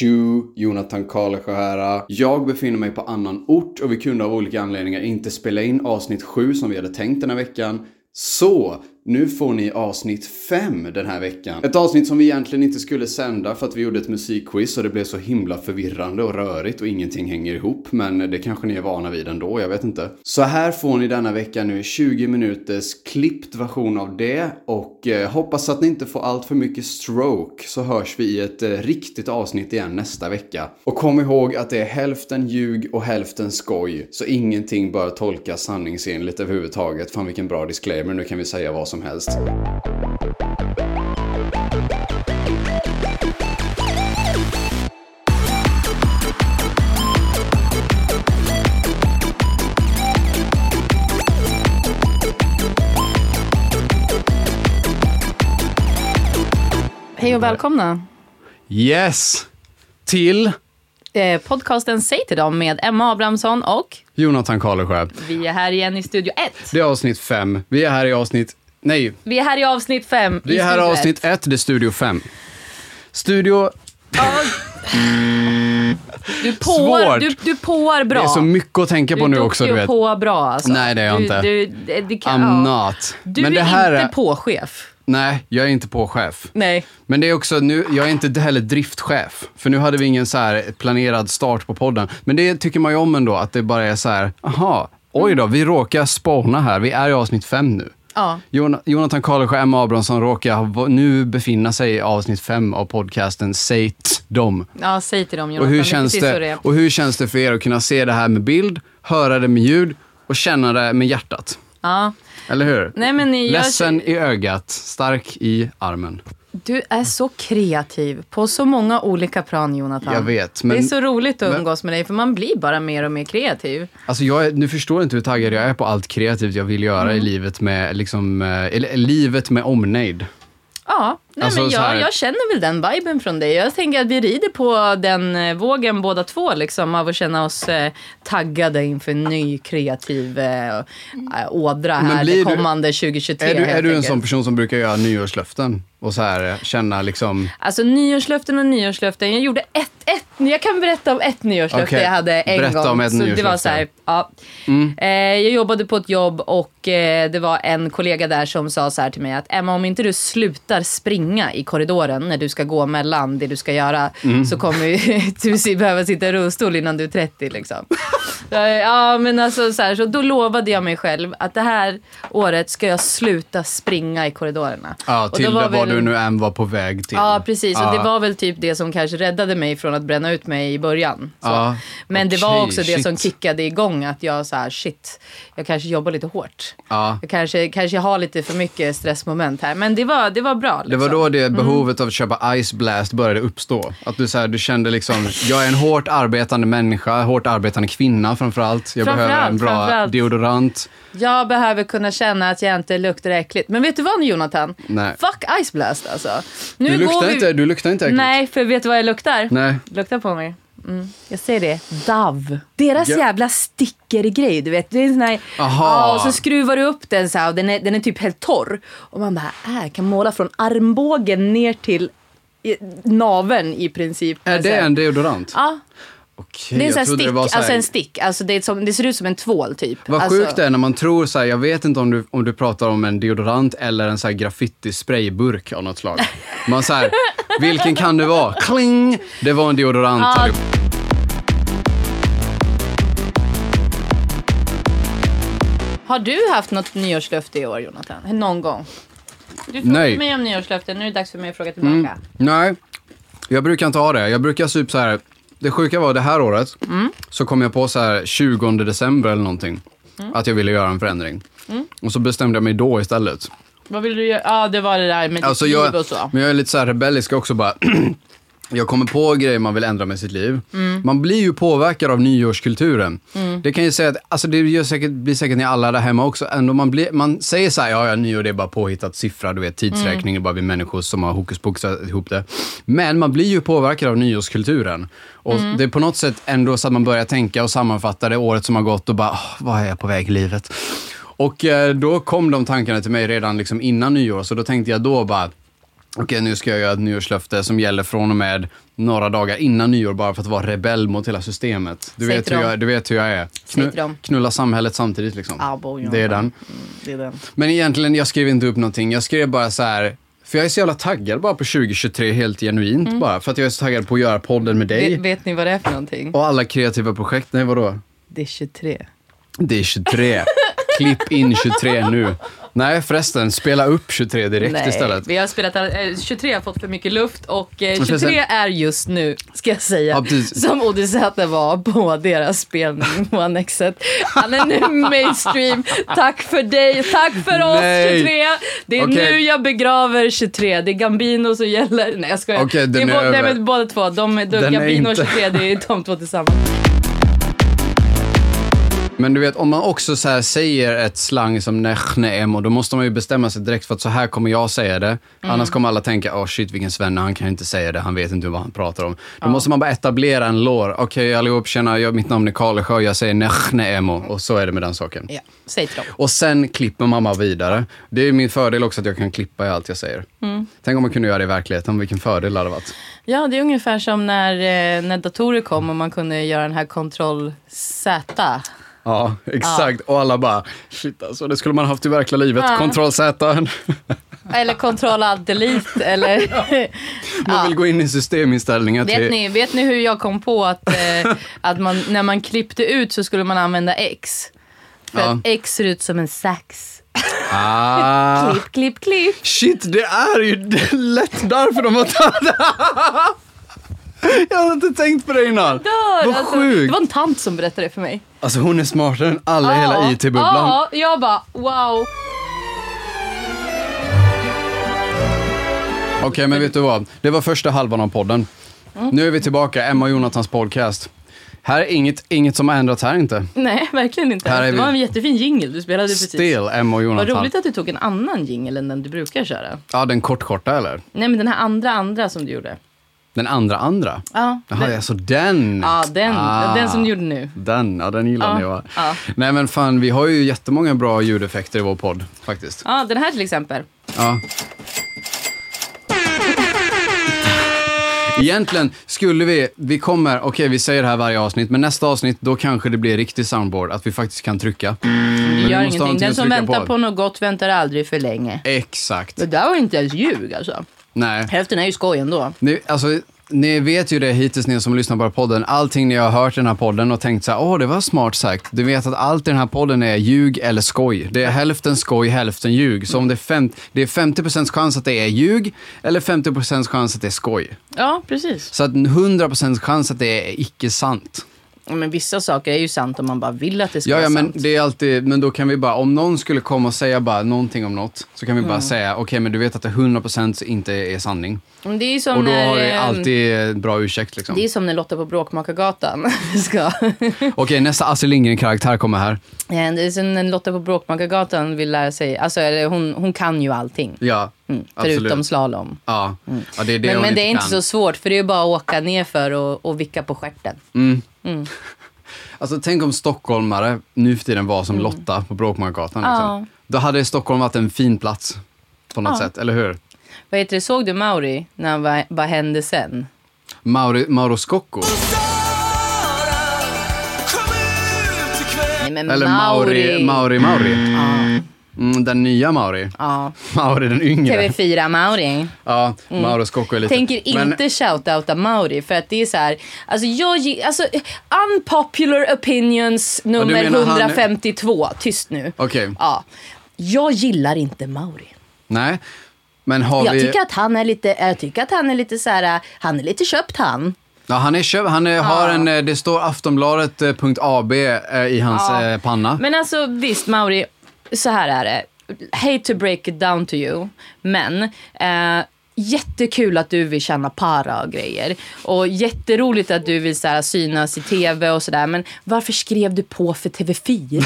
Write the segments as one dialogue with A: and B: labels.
A: Shu, Jonathan Kalesjöhära. Jag befinner mig på annan ort och vi kunde av olika anledningar inte spela in avsnitt 7 som vi hade tänkt den här veckan. Så, nu får ni avsnitt 5 den här veckan. Ett avsnitt som vi egentligen inte skulle sända för att vi gjorde ett musikquiz och det blev så himla förvirrande och rörigt och ingenting hänger ihop. Men det kanske ni är vana vid ändå, jag vet inte. Så här får ni denna vecka nu 20 minuters klippt version av det och eh, hoppas att ni inte får allt för mycket stroke så hörs vi i ett eh, riktigt avsnitt igen nästa vecka. Och kom ihåg att det är hälften ljug och hälften skoj så ingenting bör tolkas sanningsenligt överhuvudtaget. Fan vilken bra disclaimer, nu kan vi säga vad som helst.
B: Hej och välkomna.
A: Yes! Till
B: Eh, podcasten Säg till dem med Emma Abrahamsson och
A: Jonathan Karlsjö.
B: vi är här igen i studio 1.
A: Det är avsnitt 5. Vi är här i avsnitt... Nej,
B: Vi är här i avsnitt 5.
A: vi är här i avsnitt 1, det är studio 5. Studio...
B: Du påar,
A: Svårt.
B: du, du påar bra.
A: Det är så mycket att tänka på nu också, du
B: Du är
A: vet.
B: duktig och påar bra alltså.
A: Nej, det är jag
B: du,
A: inte.
B: Du, det, det kan,
A: I'm
B: ja.
A: not.
B: du
A: Men
B: är
A: det här
B: inte
A: är...
B: påchef.
A: Nej, jag är inte på chef.
B: Nej.
A: Men det är också nu, jag är inte heller driftchef. För nu hade vi ingen så här planerad start på podden. Men det tycker man ju om ändå, att det bara är så här, aha,
B: Mm.
A: oj då, vi råkar spåna här. Vi är i avsnitt fem nu.
B: Ja.
A: Jon- Jonathan Karlsjö och Emma Abrahamsson råkar ha- nu befinna sig i avsnitt fem av podcasten Säg t- dem.
B: ja, säg till dem
A: Och
B: Jonathan.
A: hur,
B: är
A: känns
B: precis så
A: det,
B: är.
A: och hur känns det för er att kunna se det här med bild, höra det med ljud och känna det med hjärtat?
B: Ja.
A: Eller hur?
B: Nej, men jag-
A: Ledsen i ögat, stark i armen.
B: Du är så kreativ på så många olika plan Jonathan.
A: Jag vet,
B: Det
A: men-
B: är så roligt att
A: men-
B: umgås med dig för man blir bara mer och mer kreativ.
A: Alltså jag, är- nu förstår inte hur taggad jag är på allt kreativt jag vill göra
B: Mm.
A: i livet med, liksom, eh, eller eh, livet med omnejd.
B: Ja, nej
A: Alltså,
B: men
A: så
B: jag,
A: här-
B: jag känner väl den viben från dig. Jag tänker att vi rider på den eh, vågen båda två liksom, av att känna oss eh, taggade inför en ny kreativ eh, eh, ådra
A: Men
B: här
A: blir
B: det
A: du-
B: kommande 2023.
A: Är du, är
B: helt
A: du en
B: enkelt.
A: sån person som brukar göra nyårslöften och så här eh, känna liksom,
B: Alltså nyårslöften och nyårslöften. Jag gjorde ett, ett jag kan berätta om ett nyårslöfte
A: Okej,
B: jag hade en
A: berätta
B: gång.
A: om ett
B: så det var
A: nyårslöfte. Mm.
B: så här, ja. eh, jag jobbade på ett jobb och eh, det var en kollega där som sa så här till mig att Emma om inte du slutar springa i korridoren när du ska gå mellan det du ska göra
A: Mm.
B: så kommer ju du si- behöva sitta i rullstol innan du är 30 liksom. Eh, Ja men alltså så här, så då lovade jag mig själv att det här året ska jag sluta springa i korridorerna.
A: ja,
B: Och
A: till
B: då
A: var vad
B: väl-
A: du nu än var på väg till?
B: Ja, precis.
A: Ja.
B: Och det var väl typ det som kanske räddade mig från att bränna ut mig i början. Så.
A: Ja.
B: Men det var
A: Okej,
B: också det
A: shit.
B: som kickade igång att jag så här, shit, jag kanske jobbar lite hårt.
A: Ja.
B: Jag kanske, kanske har lite för mycket stressmoment här. Men det var, det var bra.
A: Det
B: Liksom.
A: var då det behovet av att köpa Ice Blast började uppstå. Att du, så här, du kände liksom, jag är en hårt arbetande människa, hårt arbetande kvinna framförallt. Jag behöver en
B: Framförallt,
A: bra
B: framförallt.
A: deodorant.
B: Jag behöver kunna känna att jag inte luktar äckligt. Men vet du vad Jonathan?
A: Nej.
B: Fuck Ice Blast alltså. Nu
A: Du luktar, inte, du luktar inte äckligt.
B: Nej, för vet du vad jag luktar?
A: Nej.
B: Lukta på mig. Mm. Jag säger det. Dove. Deras
A: Ja.
B: jävla stickergrej, du vet. Det är en sån här,
A: Aha.
B: Ja, och så skruvar du upp den så här och den är, den är typ helt torr. Och man bara, äh, kan måla från armbågen ner till i, naveln i princip. Alltså,
A: Är det en deodorant?
B: Ja,
A: Okej,
B: det är en
A: jag
B: sån här
A: trodde
B: stick,
A: det var så här-
B: alltså en stick. Alltså det, är som, det ser ut som en tvål typ.
A: Vad
B: alltså,
A: sjukt det är när man tror så här, jag vet inte om du, om du pratar om en deodorant eller en så här graffiti-sprayburk av något slag. Man så här, vilken kan det vara? Kling! Det var en deodorant.
B: Ja,
A: allihop.
B: Har du haft något nyårslöfte i år Jonathan? Någon gång? Du frågade
A: Nej. Mm.
B: mig om nyårslöften, nu är det dags för mig att fråga tillbaka.
A: Nej, jag brukar inte ha det. Jag brukar typ så här, det sjuka var det här året, så kom jag på så här 20 december eller någonting, att jag ville göra en förändring.
B: Mm.
A: Och så bestämde jag mig då istället.
B: Vad vill du göra? Ja, det var det där med
A: Alltså
B: ditt
A: jag,
B: liv och så.
A: men jag är lite så här rebellisk också bara. Jag kommer på grejer man vill ändra med sitt liv. Man blir ju påverkad av nyårskulturen. Det kan ju säga att, alltså det gör säkert, blir säkert ni alla där hemma också. Ändå man, blir, man säger så här, ja, ja nyår det är bara påhittat siffra, du vet tidsräkning, det är bara vi människor som har hokus pokusat ihop det. Men man blir ju påverkad av nyårskulturen. Och det är på något sätt ändå så att man börjar tänka och sammanfatta det året som har gått och bara, "Åh, vad är jag på väg i livet? Och eh, då kom de tankarna till mig redan liksom innan nyår, så då tänkte jag då bara, okej nu ska jag göra ett nyårslöfte som gäller från och med några dagar innan nyår bara för att vara rebell mot hela systemet. Du,
B: Säg
A: vet
B: till
A: hur
B: dem.
A: jag, du vet hur jag är.
B: Säg till dem. Ah,
A: knulla samhället samtidigt liksom.
B: Ja, bojan.
A: det är den.
B: Mm, det är den.
A: Men egentligen, jag skrev inte upp någonting. Jag skrev bara så här, för jag är så jävla taggad bara på 2023 helt genuint
B: Mm.
A: bara. För att jag är så taggad på att göra podden med dig.
B: Vet, vet ni vad det är för någonting?
A: Och alla kreativa projekt. Nej, vadå?
B: Det är 23.
A: Det är 23. Klipp in 23 nu. Nej, förresten, spela upp 23 direkt istället.
B: vi har spelat, eh, 23 har fått för mycket luft och eh,
A: Men
B: 23
A: förresten-
B: är just nu, ska jag säga,
A: Ja, precis.
B: som Odysäter var på deras spelning på Annexet. Han är nu mainstream. Tack för dig, tack för oss
A: Nej.
B: 23. Det är
A: Okej.
B: nu jag begraver 23. Det är Gambino som gäller. Nej jag skojar.
A: Okej,
B: det
A: den är
B: bo- nej,
A: över.
B: men båda två. De, de,
A: Den är
B: Gambino och
A: inte-
B: 23, det är de två tillsammans.
A: Men du vet, om man också så här säger ett slang som nechne emo, då måste man ju bestämma sig direkt för att så här kommer jag säga det. Annars kommer alla tänka, åh shit vilken svenne, han kan inte säga det, han vet inte vad han pratar om. Då måste man bara etablera en lår. Okej allihop, tjena, jag, mitt namn är Karlsjö, jag säger nechne emo. Och så är det med den saken.
B: Ja, säg till dem.
A: Och sen klipper mamma vidare. Det är min fördel också att jag kan klippa i allt jag säger. Tänk om man kunde göra det i verkligheten, vilken fördel det hade varit.
B: Ja, det är ungefär som när, eh, när datorer kom och man kunde göra den här kontroll Z.
A: Ja, exakt. Och alla bara, shit alltså, det skulle man haft i verkliga livet.
B: Ja.
A: Kontroll Z.
B: Eller kontroll alt delete eller...
A: Man vill gå in i systeminställningar till...
B: vet, ni, vet ni hur jag kom på att, eh, att man, när man klippte ut så skulle man använda X? För
A: Ja.
B: att X ser ut som en sax.
A: Ah.
B: Klipp, klipp, klipp.
A: Shit, det är ju det är lätt därför de har tagit Jag hade inte tänkt på det innan.
B: Dör,
A: Vad
B: alltså. Det
A: sjukt.
B: var en tant som berättade det för mig.
A: Alltså hon är smartare än alla i
B: Ja,
A: hela IT-bubblan.
B: Ja, jag bara wow.
A: Okej, men vet du vad? Det var första halvan av podden.
B: Mm.
A: Nu är vi tillbaka, Emma och Jonathans podcast. Här är inget, inget som har ändrats här inte.
B: Nej, verkligen inte.
A: Här är
B: Det var
A: vi.
B: en jättefin jingle du spelade precis.
A: Stel, Emma och
B: Vad
A: Jonathan.
B: roligt att du tog en annan jingle än den du brukar köra.
A: Ja, den kortkorta eller?
B: Nej, men den här andra andra som du gjorde.
A: Den andra andra?
B: Ja,
A: Jaha, den. alltså den.
B: Ja, den,
A: Ah.
B: den som du gjorde nu.
A: Den, ja den gillar
B: Ja,
A: ni va?
B: ja.
A: Nej men fan, vi har ju jättemånga bra ljudeffekter i vår podd faktiskt.
B: Ja, den här till exempel.
A: Ja. Egentligen skulle vi, vi kommer, okej vi säger det här varje avsnitt, men nästa avsnitt då kanske det blir riktig soundboard, att vi faktiskt kan trycka. Men vi
B: Mm. Det
A: måste
B: gör
A: ha
B: ingenting.
A: någonting
B: Den
A: att
B: som
A: trycka
B: väntar på. något gott väntar aldrig för länge.
A: Exakt.
B: Det där var inte ens ljug alltså.
A: Nej.
B: Hälften är ju skoj ändå.
A: Ni, alltså, ni vet ju det hittills ni som lyssnar på podden. Allting ni har hört i den här podden och tänkt så här, åh det var smart sagt. Du vet att allt i den här podden är ljug eller skoj. Det är hälften skoj, hälften ljug. Så om det är, fem, det är 50% chans att det är ljug eller 50% chans att det är skoj.
B: Ja, precis.
A: Så att 100% chans att det är icke sant.
B: Men vissa saker är ju sant om man bara vill att det ska
A: Ja, ja
B: vara
A: men
B: sant.
A: det är alltid, men då kan vi bara, om någon skulle komma och säga bara någonting om något, så kan vi bara
B: Mm.
A: säga, okej men du vet att det 100% inte är sanning.
B: Men det är ju som
A: Och då
B: när...
A: har vi
B: ehm,
A: alltid en bra ursäkt liksom.
B: Det är som när Lotta på Bråkmakargatan ska...
A: Okej, nästa Astrid Lindgren-karaktär kommer här.
B: Ja, det är som när Lotta på Bråkmakargatan vill lära sig... Alltså, eller hon, hon kan ju allting.
A: Ja,
B: Mm,
A: absolut.
B: förutom slalom.
A: Ja. ja, det är det
B: men
A: hon
B: men det är
A: inte
B: inte
A: kan.
B: så svårt, för det är ju bara att åka ner för och, och vicka på stjärten.
A: Mm. Alltså tänk om stockholmare nu för tiden var som Lotta på Bråkmakargatan. Liksom.
B: Mm. Ja.
A: Då hade Stockholm varit en fin plats på något sätt, eller hur?
B: Vad heter det, såg du Mauri när han var Vad hände sen?
A: Mauri, Mauro Scocco.
B: Mm.
C: Sara, kom ut ikväll
B: Nej men
A: Eller Mauri, Mauri, Mauri.
B: Ja,
A: Mm, den nya Mauri.
B: ja.
A: Mauri den yngre.
B: TV4 Mauri.
A: Ja, Mauro Scocco är lite...
B: Mm. Tänker
A: Men-
B: inte shoutouta Mauri för att det är så här, alltså jag gi- alltså eh, unpopular opinions nummer
A: menar han-
B: 152, tyst nu.
A: Okej,
B: Ja. Jag gillar inte Mauri.
A: nej. Men har
B: Jag
A: vi...
B: tycker att han är lite, jag tycker att han är lite så här, eh, han är lite köpt han.
A: Ja, han är köp... Han är, har en... eh, Det står aftonbladet.ab eh, i hans
B: Ja.
A: eh, panna.
B: Men alltså visst Mauri, så här är det. Hate to break it down to you, men eh, jättekul att du vill känna para och grejer. Och jätteroligt att du vill så här, synas i tv och sådär. Men varför skrev du på för TV4?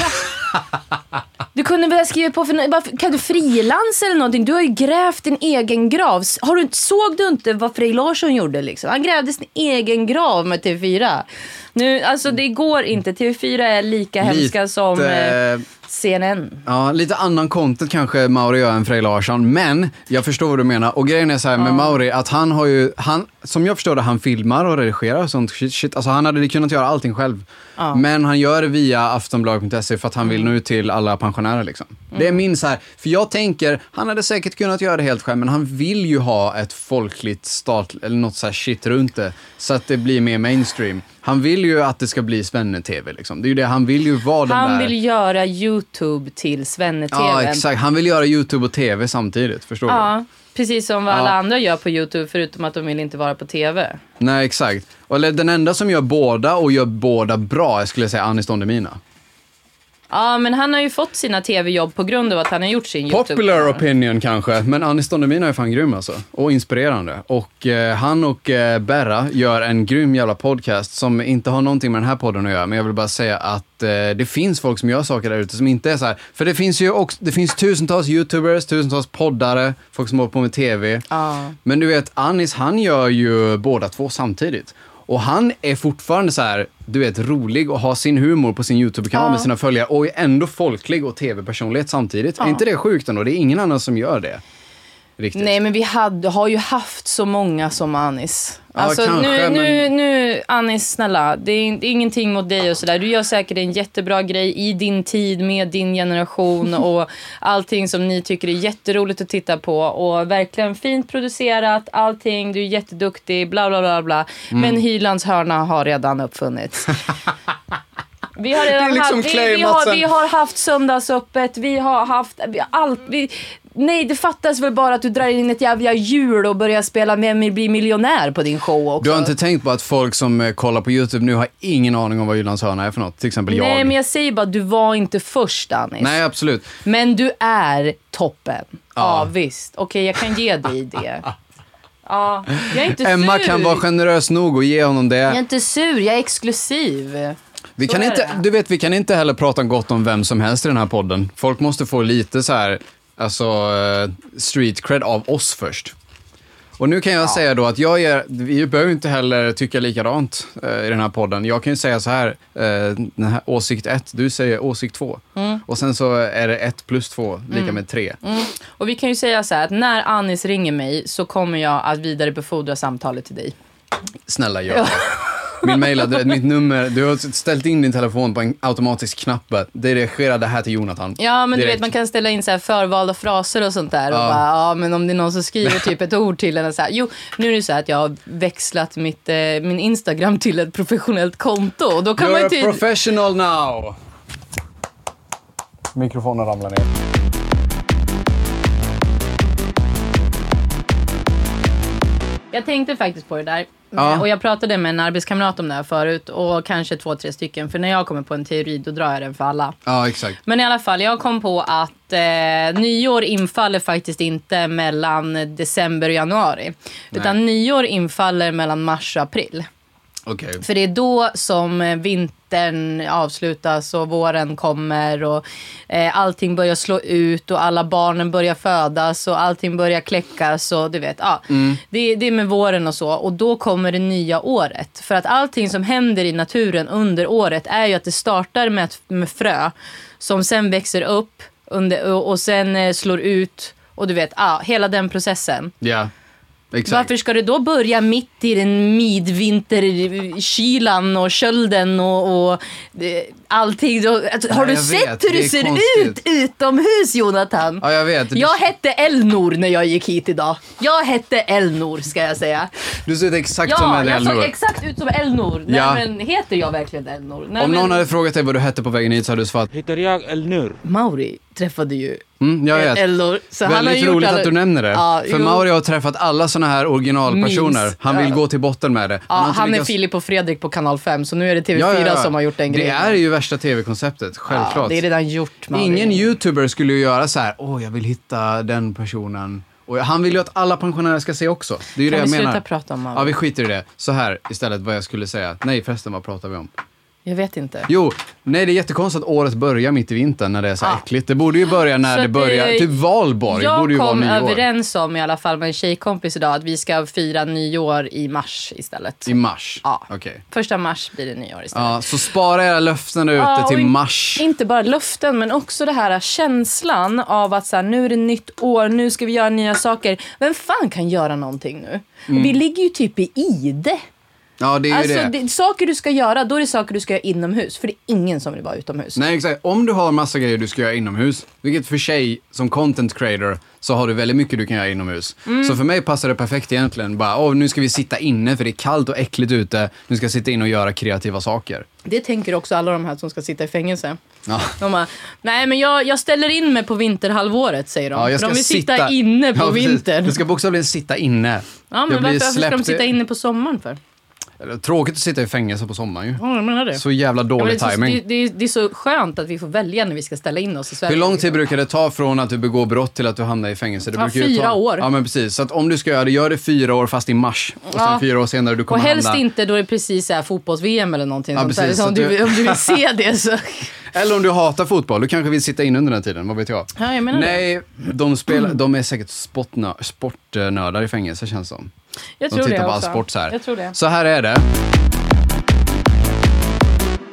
B: Du kunde väl ha skrivit på för nå- varför- kan du frilansa eller någonting? Du har ju grävt din egen grav. S- Har du, inte- såg du inte vad Frej Larsson gjorde liksom? Han grävde sin egen grav med TV4. Nu, alltså det går inte. TV4 är lika hemska som... eh,
A: Lite
B: CNN.
A: Ja, lite annan content kanske Mauri gör än Frej Larsson, men jag förstår vad du menar. Och grejen är så här med Mauri, att han har ju, han, som jag förstår det, han filmar och redigerar och sånt shit. shit. Alltså han hade kunnat göra allting själv. Men han gör det via aftonbladet.se för att han
B: Mm.
A: vill nå ut till alla pensionärer liksom. Det är min så här, för jag tänker, han hade säkert kunnat göra det helt själv, men han vill ju ha ett folkligt start, eller något så här shit runt det, så att det blir mer mainstream. Han vill ju att det ska bli spännande-tv liksom. Det är ju det, han vill ju vara den där...
B: Han vill göra YouTube till Svenne-TVn.
A: Ja, exakt. Han vill göra YouTube och TV samtidigt, förstår
B: Ja, precis som vad alla
A: Ja.
B: andra gör på YouTube förutom att de vill inte vara på TV.
A: du? Nej, exakt. Och Eller den enda som gör båda och gör båda bra, jag skulle säga Anis Don Demina.
B: Ja, men han har ju fått sina TV-jobb på grund av att han har gjort sin YouTube.
A: Popular opinion kanske, men Anis Don Demina är fan grym alltså. Och inspirerande. Och eh, han och eh, Berra gör en grym jävla podcast som inte har någonting med den här podden att göra, men jag vill bara säga att eh, det finns folk som gör saker där ute som inte är så här. För det finns ju också, det finns tusentals YouTubers, tusentals poddare, folk som håller på med TV.
B: Ja.
A: Men du vet, Anis han gör ju båda två samtidigt. Och han är fortfarande så här, du vet, rolig och har sin humor på sin YouTube-kanal med sina följare och är ändå folklig och tv-personlighet samtidigt. Är inte det sjukt ändå? Det är ingen annan som gör det. Riktigt.
B: Nej, men vi hade, har ju haft så många som Anis. Alltså,
A: kanske,
B: nu, nu,
A: men-
B: nu, Anis, snälla. Det är, in- det är ingenting mot dig och sådär. Du gör säkert en jättebra grej i din tid med din generation och allting som ni tycker är jätteroligt att titta på. Och verkligen fint producerat, allting. Du är jätteduktig, bla bla bla. bla.
A: Mm.
B: Men Hylands hörna har redan uppfunnits. Vi har, redan
A: Det är liksom
B: haft, vi, vi,
A: claimat
B: har,
A: sen.
B: vi har haft söndagsöppet, vi har haft vi, har allt. Vi, nej, det fattas väl bara att du drar in ett jävla hjul och börjar spela Vem vill bli miljonär på din show också.
A: Du har inte tänkt på att folk som eh, kollar på YouTube nu har ingen aning om vad Jyllands hörna är för något? Till exempel
B: Nej,
A: jag.
B: men jag säger bara du var inte först Anis.
A: Nej, absolut.
B: Men du är toppen. Ja, visst. Okej, jag kan ge dig det. Ja, jag är inte
A: Emma
B: sur.
A: kan vara generös nog och ge honom det.
B: jag är inte sur, jag är exklusiv.
A: Vi
B: Så
A: kan
B: är
A: inte,
B: det.
A: du vet, vi kan inte heller prata gott om vem som helst i den här podden. Folk måste få lite så här, alltså eh, street cred av oss först. Och nu kan jag säga då att jag är, vi behöver inte heller tycka likadant eh, i den här podden. Jag kan ju säga så här, eh, den här åsikt 1, du säger åsikt 2.
B: Mm.
A: Och sen så är det 1 plus 2, lika med 3.
B: Och vi kan ju säga så här att när Anis ringer mig så kommer jag att vidarebefordra samtalet till dig.
A: Snälla gör det. Min mailadress, mitt nummer, du har ställt in din telefon på en automatisk knapp. Dirigera det här till Jonathan.
B: Ja, men du
A: Direkt.
B: vet man kan ställa in så här förvalda fraser och sånt där. Och bara, ja, men om det är någon som skriver typ ett ord till en. och Så här, jo, nu är det så här att jag har växlat mitt, eh, min Instagram till ett professionellt konto. Och då kan man ju typ-
A: You're a
B: tydligt...
A: professional now! Mikrofonen ramlar ner.
B: Jag tänkte faktiskt på det där.
A: Ja.
B: Och jag pratade med en arbetskamrat om det här förut. Och kanske två, tre stycken. För när jag kommer på en teori, då drar jag den för alla.
A: Ja, exakt.
B: Men i alla fall, jag kom på att eh, nyår infaller faktiskt inte mellan december och januari. Utan nyår infaller mellan mars och april.
A: Okej.
B: För det är då som eh, vintern avslutas och våren kommer och eh, allting börjar slå ut och alla barnen börjar födas och allting börjar kläckas och du vet, ja. Det, det är med våren och så och då kommer det nya året. För att allting som händer i naturen under året är ju att det startar med, ett, med frö som sen växer upp under, och, och sen eh, slår ut och du vet, ja, hela den processen.
A: Ja, exakt.
B: Varför ska du då börja mitt i den midvinterkylan och kölden och, och eh, allting? Då- Alltså, har
A: Ja,
B: du
A: jag
B: sett
A: vet.
B: hur
A: Det
B: det,
A: är
B: ser
A: konstigt.
B: ut utomhus, Jonathan?
A: Ja, jag vet. Du-
B: Jag hette Elnor när jag gick hit idag. Jag hette Elnor, ska jag säga.
A: Du ser ut exakt som
B: Ja,
A: en
B: jag såg
A: Elnor.
B: exakt ut som Elnor. Nej,
A: Ja.
B: men heter jag verkligen Elnor? Nej,
A: Om någon
B: men,
A: hade frågat dig vad du hette på vägen hit så hade du svarat
D: Heter jag Elnur?
B: Mauri träffade ju
A: mm, jag vet.
B: Elnor. Så han har
A: Väldigt
B: gjort
A: roligt
B: alla-
A: att du nämner det.
B: Ja,
A: För
B: jo.
A: Mauri har träffat alla såna här originalpersoner.
B: Minst.
A: Han vill
B: Ja.
A: gå till botten med det.
B: Ja,
A: har inte
B: han är
A: lyckats-
B: Filip och Fredrik på kanal 5, så nu är det TV4
A: Ja, ja, ja.
B: som har gjort den
A: Det
B: grejen.
A: är ju värsta tv-konceptet, självklart.
B: Ja, det är redan gjort. Mauri.
A: Ingen youtuber skulle ju göra så här, åh jag vill hitta den personen. Och han vill ju att alla pensionärer ska se också. Det är ju
B: Kan
A: det jag
B: vi sluta
A: menar.
B: prata om honom?
A: Ja, vi skiter i det. Så här istället vad jag skulle säga. Nej förresten, vad pratar vi om?
B: Jag vet inte.
A: Jo, nej det är jättekonstigt att året börjar mitt i vintern när det är så här
B: Ja.
A: äckligt. Det borde ju börja när
B: Ah. Så
A: det
B: att,
A: börjar,
B: eh,
A: typ valborg
B: jag
A: borde ju vara
B: kom
A: nyår.
B: överens om i alla fall med en tjejkompis idag att vi ska fira nyår i mars istället.
A: I mars?
B: Ja.
A: Okej.
B: Första mars blir det nyår istället.
A: Ja, så spara era löften där ute
B: Ja, Ah, och
A: till
B: in-
A: mars.
B: Inte bara luften men också det här känslan av att så här, nu är det nytt år, nu ska vi göra nya saker. Vem fan kan göra någonting nu? Vi ligger ju typ i ide.
A: ja, Mm. det är ju
B: Alltså,
A: det.
B: det. saker du ska göra, då är det saker du ska göra inomhus. För det är ingen som vill vara utomhus.
A: Nej, exakt. Om du har massa grejer du ska göra inomhus, vilket för sig som content creator så har du väldigt mycket du kan göra inomhus.
B: Mm.
A: Så för mig passar det perfekt egentligen. Bara, åh, nu ska vi sitta inne för det är kallt och äckligt ute. Nu ska jag sitta inne och göra kreativa saker.
B: Det tänker också alla de här som ska sitta i fängelse.
A: Ja.
B: De bara, nej men jag, jag ställer in mig på vinterhalvåret säger de.
A: Ja, jag ska
B: För de vill sitta,
A: sitta
B: inne på
A: Ja, precis.
B: vintern.
A: Jag ska bokstavligen sitta inne.
B: Ja, men
A: jag
B: varför, varför ska de
A: släppt i-
B: sitta inne på sommaren för?
A: Eller, Tråkigt att sitta i fängelse på sommaren ju.
B: Ja, jag menar det.
A: Så jävla
B: Ja, men
A: dålig
B: det, är så,
A: timing.
B: det, det, är- det är så skönt att vi får välja när vi ska ställa in oss i Sverige.
A: Hur lång tid brukar det ta från att du begår brott till att du hamnar i fängelse? Det
B: Ja,
A: brukar ju
B: fyra
A: ta...
B: år.
A: Ja, men precis. Så att om du ska göra det, gör det fyra år fast i mars. Och sen
B: Ja.
A: fyra år senare, du
B: Och
A: kommer
B: helst
A: hamna...
B: inte då det är precis så här fotbolls-VM eller någonting.
A: Ja,
B: sånt där.
A: precis,
B: så
A: så
B: om, du,
A: du-
B: om du vill se det så.
A: Eller om du hatar fotboll, du kanske vill sitta in under den tiden, vad vet jag?
B: Ja, jag menar det.
A: Nej, de, spelar, de är säkert sportnö, sportnördar i fängelse känns det som.
B: Jag
A: De
B: tror
A: tittar
B: det
A: på all
B: också.
A: sport så här.
B: Jag tror det.
A: Så här är det.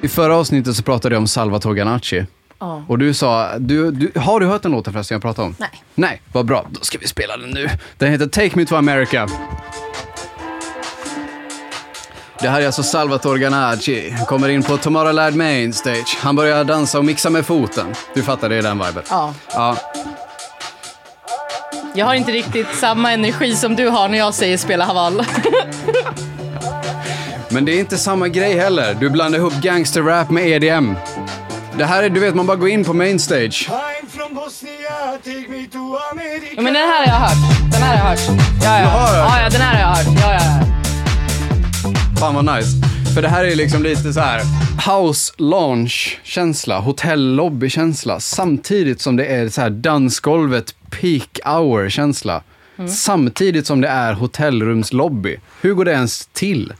A: I förra avsnittet så pratade jag om Salvatore Ganacci.
B: Ja.
A: Och du sa, du, du, har du hört den låten förresten jag pratade om?
B: Nej.
A: Nej, vad bra. Då ska vi spela den nu. Den heter Take Me To America. Det här är alltså Salvatore Ganacci. Han kommer in på Tomorrowland Main Stage. Han börjar dansa och mixa med foten. Du fattar, det är den viben.
B: Ja.
A: ja.
B: Jag har inte riktigt samma energi som du har när jag säger spela Haval.
A: Men det är inte samma grej heller. Du blandar ihop gangsterrap med EDM. Det här är, du vet, man bara går in på main stage.
D: I'm from Bosnia, take me to America.
B: Ja, men den här har jag hört. Den här har jag hört. Ja, ja.
A: har hört?
B: ja, ja den här har jag hört. Ja, ja, ja.
A: Fan vad nice. För det här är liksom lite så här house lounge-känsla, hotellobby-känsla. Samtidigt som det är så här dansgolvet peak hour-känsla.
B: Mm.
A: Samtidigt som det är hotellrumslobby. Hur går det ens till?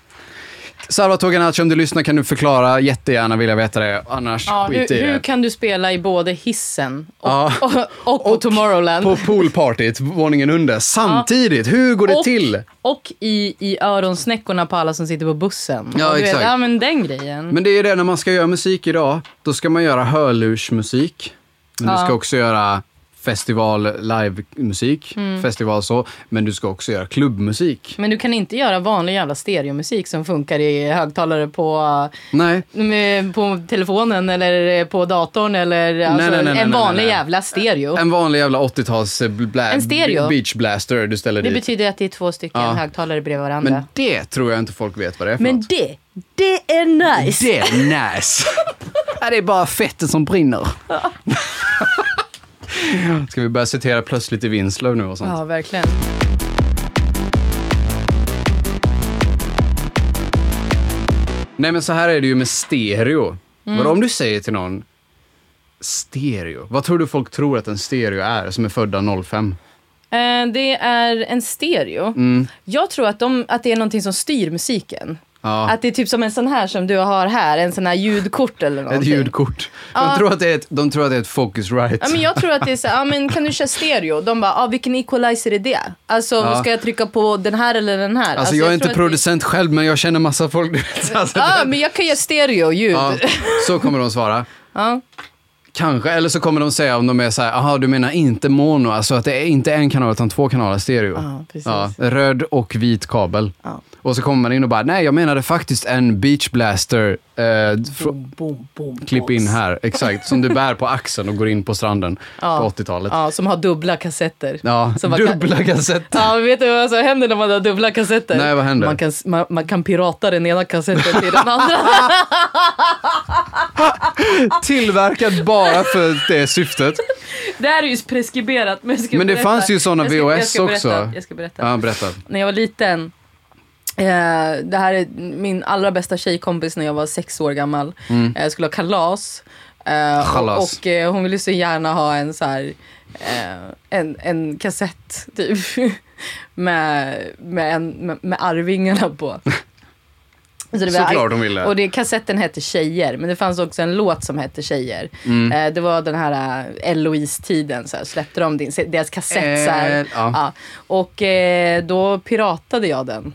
A: Salvatore Ganacci, om du lyssnar kan du förklara jättegärna, vill jag veta det. Annars
B: Ja,
A: skit i
B: hur, hur
A: det.
B: kan du spela i både hissen och,
A: Ja.
B: och, och på Tomorrowland?
A: På poolpartyt, våningen under. Samtidigt, hur går det
B: och,
A: till?
B: och i, i öronsnäckorna på alla som sitter på bussen.
A: Ja,
B: och du
A: exakt.
B: Vet, ja, men den grejen.
A: Mm. Men det är det, när man ska göra musik idag, då ska man göra hörlursmusik. Men du
B: Ja.
A: ska också göra festival live-musik,
B: Mm.
A: festival så. Men du ska också göra klubbmusik.
B: Men du kan inte göra vanlig jävla stereomusik som funkar i högtalare på,
A: Nej.
B: med- på telefonen eller eh, på datorn eller alltså,
A: nej, nej, nej,
B: en
A: nej,
B: vanlig
A: nej.
B: jävla stereo.
A: En vanlig jävla 80-tals eh, bla-
B: Oh. En stereo.
A: beach blaster du ställer
B: Det
A: dit.
B: betyder att det är två stycken
A: Ja.
B: högtalare bredvid varandra.
A: Men det tror jag inte folk vet vad det är för
B: Men
A: något.
B: det, det är nice!
A: Det är nice. ja, det är bara fettet som brinner. Ska vi börja citera plötsligt i Vinslöv nu och sånt?
B: Ja, verkligen.
A: Nej men så här är det ju med stereo.
B: Mm.
A: Vadå om du säger till någon stereo? Vad tror du folk tror att en stereo är som är födda 05?
B: Eh, det är en stereo.
A: Mm.
B: Jag tror att, de, att det är någonting som styr musiken.
A: Ja.
B: Att det är typ som en sån här som du har här, en sån här ljudkort eller
A: Ett
B: någonting.
A: ljudkort. De, tror att det är ett, de tror att det är ett Alltså, Focusrite.
B: Ja, men jag tror att det är så här, ja, men kan du köra stereo? De bara, ah, vilken equalizer är det? Alltså,
A: Ja.
B: ska jag trycka på den här eller den här?
A: Alltså jag är inte
B: tror att
A: producent själv men jag känner massa folk. du vet. alltså,
B: Det... Ja, men jag kan göra stereo-ljud.
A: ja, så kommer de svara.
B: Ja.
A: Kanske, eller så kommer de säga om de är så här, aha du menar inte mono, alltså att det är inte en kanal utan två kanaler stereo.
B: Ja, precis.
A: röd och vit kabel.
B: Ja.
A: Och så kommer man in och bara, nej jag menade faktiskt en beach blaster. Eh, fr-
B: Boom, boom,
A: klipp in
B: boss.
A: här, exakt, som du bär på axeln och går in på stranden
B: Ja.
A: på 80-talet.
B: Ja, som har dubbla kassetter.
A: Ja,
B: Som var-
A: dubbla kassetter.
B: Ja, men vet du vad som händer när man har dubbla kassetter?
A: Nej, vad händer?
B: Man kan, man, man kan pirata den ena kassetten till den andra.
A: Tillverkad bara för det syftet.
B: Det här är ju preskriberat. Men, jag ska
A: Men det
B: berätta.
A: fanns ju såna
B: jag ska, jag
A: VHS
B: ska
A: också.
B: Berätta, jag ska berätta.
A: Ja, berätta.
B: När jag var liten, eh, det här är min allra bästa tjejkompis när jag var sex år gammal. Eh, Jag skulle ha kalas. eh,
A: Mm. Kalas.
B: Och, och eh, hon ville så gärna ha en så här, eh, en, en kassett typ. Med, med, en, med, med Arvingarna på. Så det
A: Såklart hon ville.
B: Och det, kassetten hette Tjejer, men det fanns också en låt som hette Tjejer.
A: Mm.
B: Eh, det var den här eh, Eloise-tiden, så här, släppte de din, deras kassett. så här.
A: Eh, ja.
B: Och eh, då piratade jag den.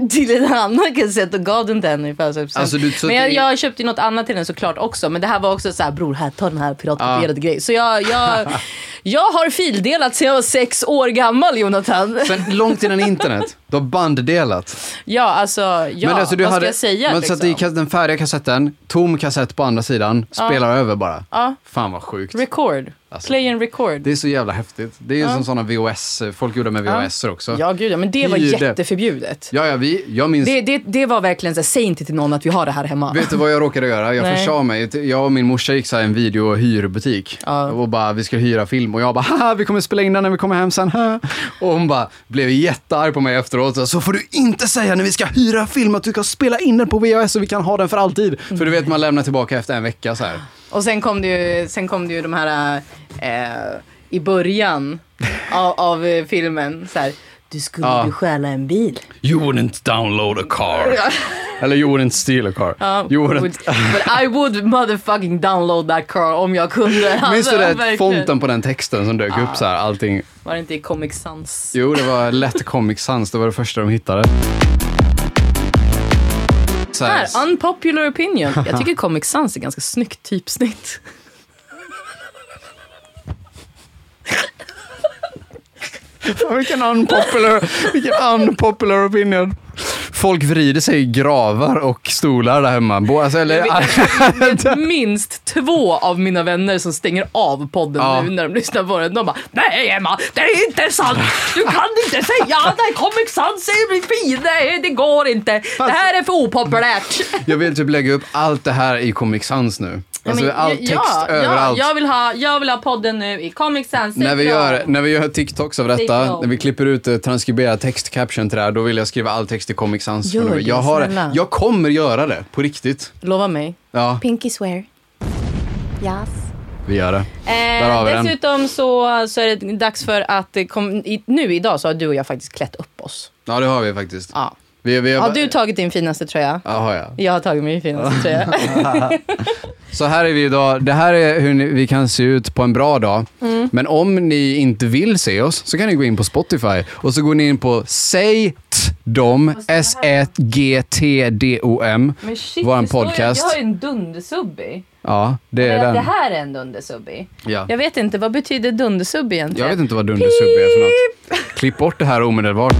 B: Till en annan kassett och gav den den i födelsedagspresent.
A: Mm. Alltså, du- så
B: men
A: att
B: jag,
A: det-
B: jag köpte ju något annat till den såklart också. Men det här var också så här, bror här, ta den här piratkopierade grejen. Så jag, jag, jag har fildelat sedan jag var sex år gammal Jonathan.
A: Sen långt innan internet, du har banddelat.
B: Ja, alltså, ja,
A: alltså,
B: vad ska jag säga? liksom?
A: Men så att det är kas- den färdiga kassetten, tom kassett på andra sidan, spelar över bara.
B: Ja.
A: Fan vad sjukt.
B: Record.
A: Alltså,
B: Play and record.
A: Det är så jävla häftigt. Det är ju som sådana VHS, folk gjorde med VHS också.
B: Ja, gud ja, men det var
A: Hyrde.
B: jätteförbjudet.
A: Ja, ja, vi, jag minns
B: Det, det, det var verkligen så här, säg inte till någon att vi har det här hemma.
A: Vet du vad jag råkade göra? Jag
B: Nej.
A: försade mig. Jag och min morsa gick så här en video och hyrbutik. Och bara, vi ska hyra film. Och jag bara, haha, vi kommer spela in den när vi kommer hem sen. haha." Och hon bara, blev jättearg på mig efteråt. Så, så får du inte säga när vi ska hyra film att du ska spela in den på VHS så vi kan ha den för alltid. För du vet, man lämnar tillbaka efter en vecka så här.
B: Och sen kom det ju, sen kom det ju de här eh, i början av, av eh, filmen. Så här, du skulle
A: Ja.
B: ju stjäla en bil.
A: You wouldn't download a car. Eller you wouldn't steal a car. you
B: would,
A: wouldn't...
B: but I would motherfucking download that car om jag kunde. Alltså,
A: Minns du det?
B: verkligen.
A: Fonten på den texten som dök upp så här, allting.
B: Var det inte i Comic Sans?
A: Jo, det var lätt Comic Sans. Det var det första de hittade. Så här,
B: Här, unpopular opinion. Jag tycker Comic Sans är ganska snyggt typsnitt.
A: Fan, vilken, unpopular, vilken unpopular opinion. Folk vrider sig i gravar och stolar där hemma. Bo- Alltså, eller,
B: minst två av mina vänner som stänger av podden
A: Ja.
B: nu när de lyssnar på den. De bara “Nej Emma, det är inte sant! Du kan inte säga att Comic Sans är min fiende! Det går inte! Det här är för opopulärt!”
A: jag vill typ lägga upp allt det här i Comic Sans nu. Alltså,
B: Ja, men,
A: all text överallt.
B: Ja, jag, vill ha, jag vill ha podden nu i Comic Sans.
A: när, vi gör, när vi gör TikToks av detta,
B: Take
A: när vi klipper ut eh, transkriberad textcaption till det här, då vill jag skriva all text i Comic Sans.
B: Gör
A: från och med.
B: det,
A: jag, har,
B: snälla.
A: jag kommer göra det, på riktigt.
B: Lova mig.
A: Ja,
E: Pinky swear. Yes.
A: vi gör det. Där har vi
B: Eh,
A: den.
B: dessutom så, så är det dags för att det kom, i, nu idag så har du och jag faktiskt klätt upp oss.
A: Ja, det har vi faktiskt.
B: Ja.
A: Vi, vi
B: Har du tagit din finaste tröja?
A: Jaha, ja.
B: Jag har tagit min finaste tröja.
A: Så här är vi idag. Det här är hur ni, vi kan se ut på en bra dag.
B: Mm.
A: Men om ni inte vill se oss så kan ni gå in på Spotify och så går ni in på säg t dem, E S-E-G-T-D-O-M,
B: Men shit,
A: våran
B: det står ju-
A: podcast.
B: Jag har ju en dundersubbi.
A: Ja, det är
B: Det,
A: den.
B: det här är en dundersubbi.
A: Ja.
B: Jag vet inte, vad betyder dundersubbi egentligen?
A: Jag vet inte vad dundersubb är för något. Klipp bort det här omedelbart.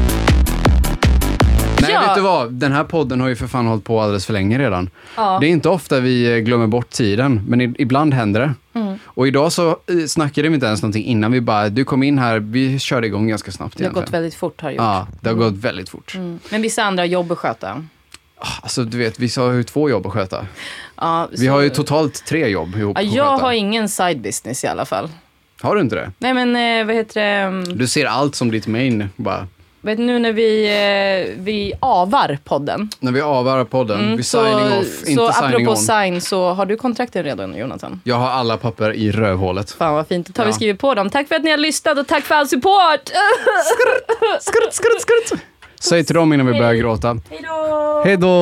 A: Nej,
B: Ja.
A: vet du vad? Den här podden har ju för fan hållit på alldeles för länge redan.
B: Ja.
A: Det är inte ofta vi eh, glömmer bort tiden, men i- ibland händer det.
B: Mm.
A: Och idag så eh, snackade vi inte ens någonting innan. Vi bara, du kom in här, vi körde igång ganska snabbt
B: Det har gått
A: egentligen.
B: väldigt fort Mm. har det gjort.
A: Ja, det har gått väldigt fort.
B: Men vissa andra har jobb att sköta.
A: Alltså du vet, vi har ju två jobb att sköta.
B: Ja,
A: Vi har ju totalt tre jobb ihop
B: ja,
A: att
B: jag
A: sköta.
B: har ingen side business i alla fall.
A: Har du inte det?
B: Nej men eh, vad heter det? mm,
A: Du ser allt som ditt main bara.
B: Vet nu när vi, eh, vi avar podden. Mm,
A: När vi avar podden, Mm, vi signing
B: så
A: off,
B: så
A: inte signing
B: apropå
A: on.
B: sign så har du kontrakten redan Jonathan?
A: Jag har alla papper i rövhålet.
B: Fan vad fint, då tar
A: Ja.
B: vi skrivit på dem. Tack för att ni har lyssnat och tack för all support!
A: Säg till dem innan vi börjar gråta.
B: Hejdå!
A: Hej då!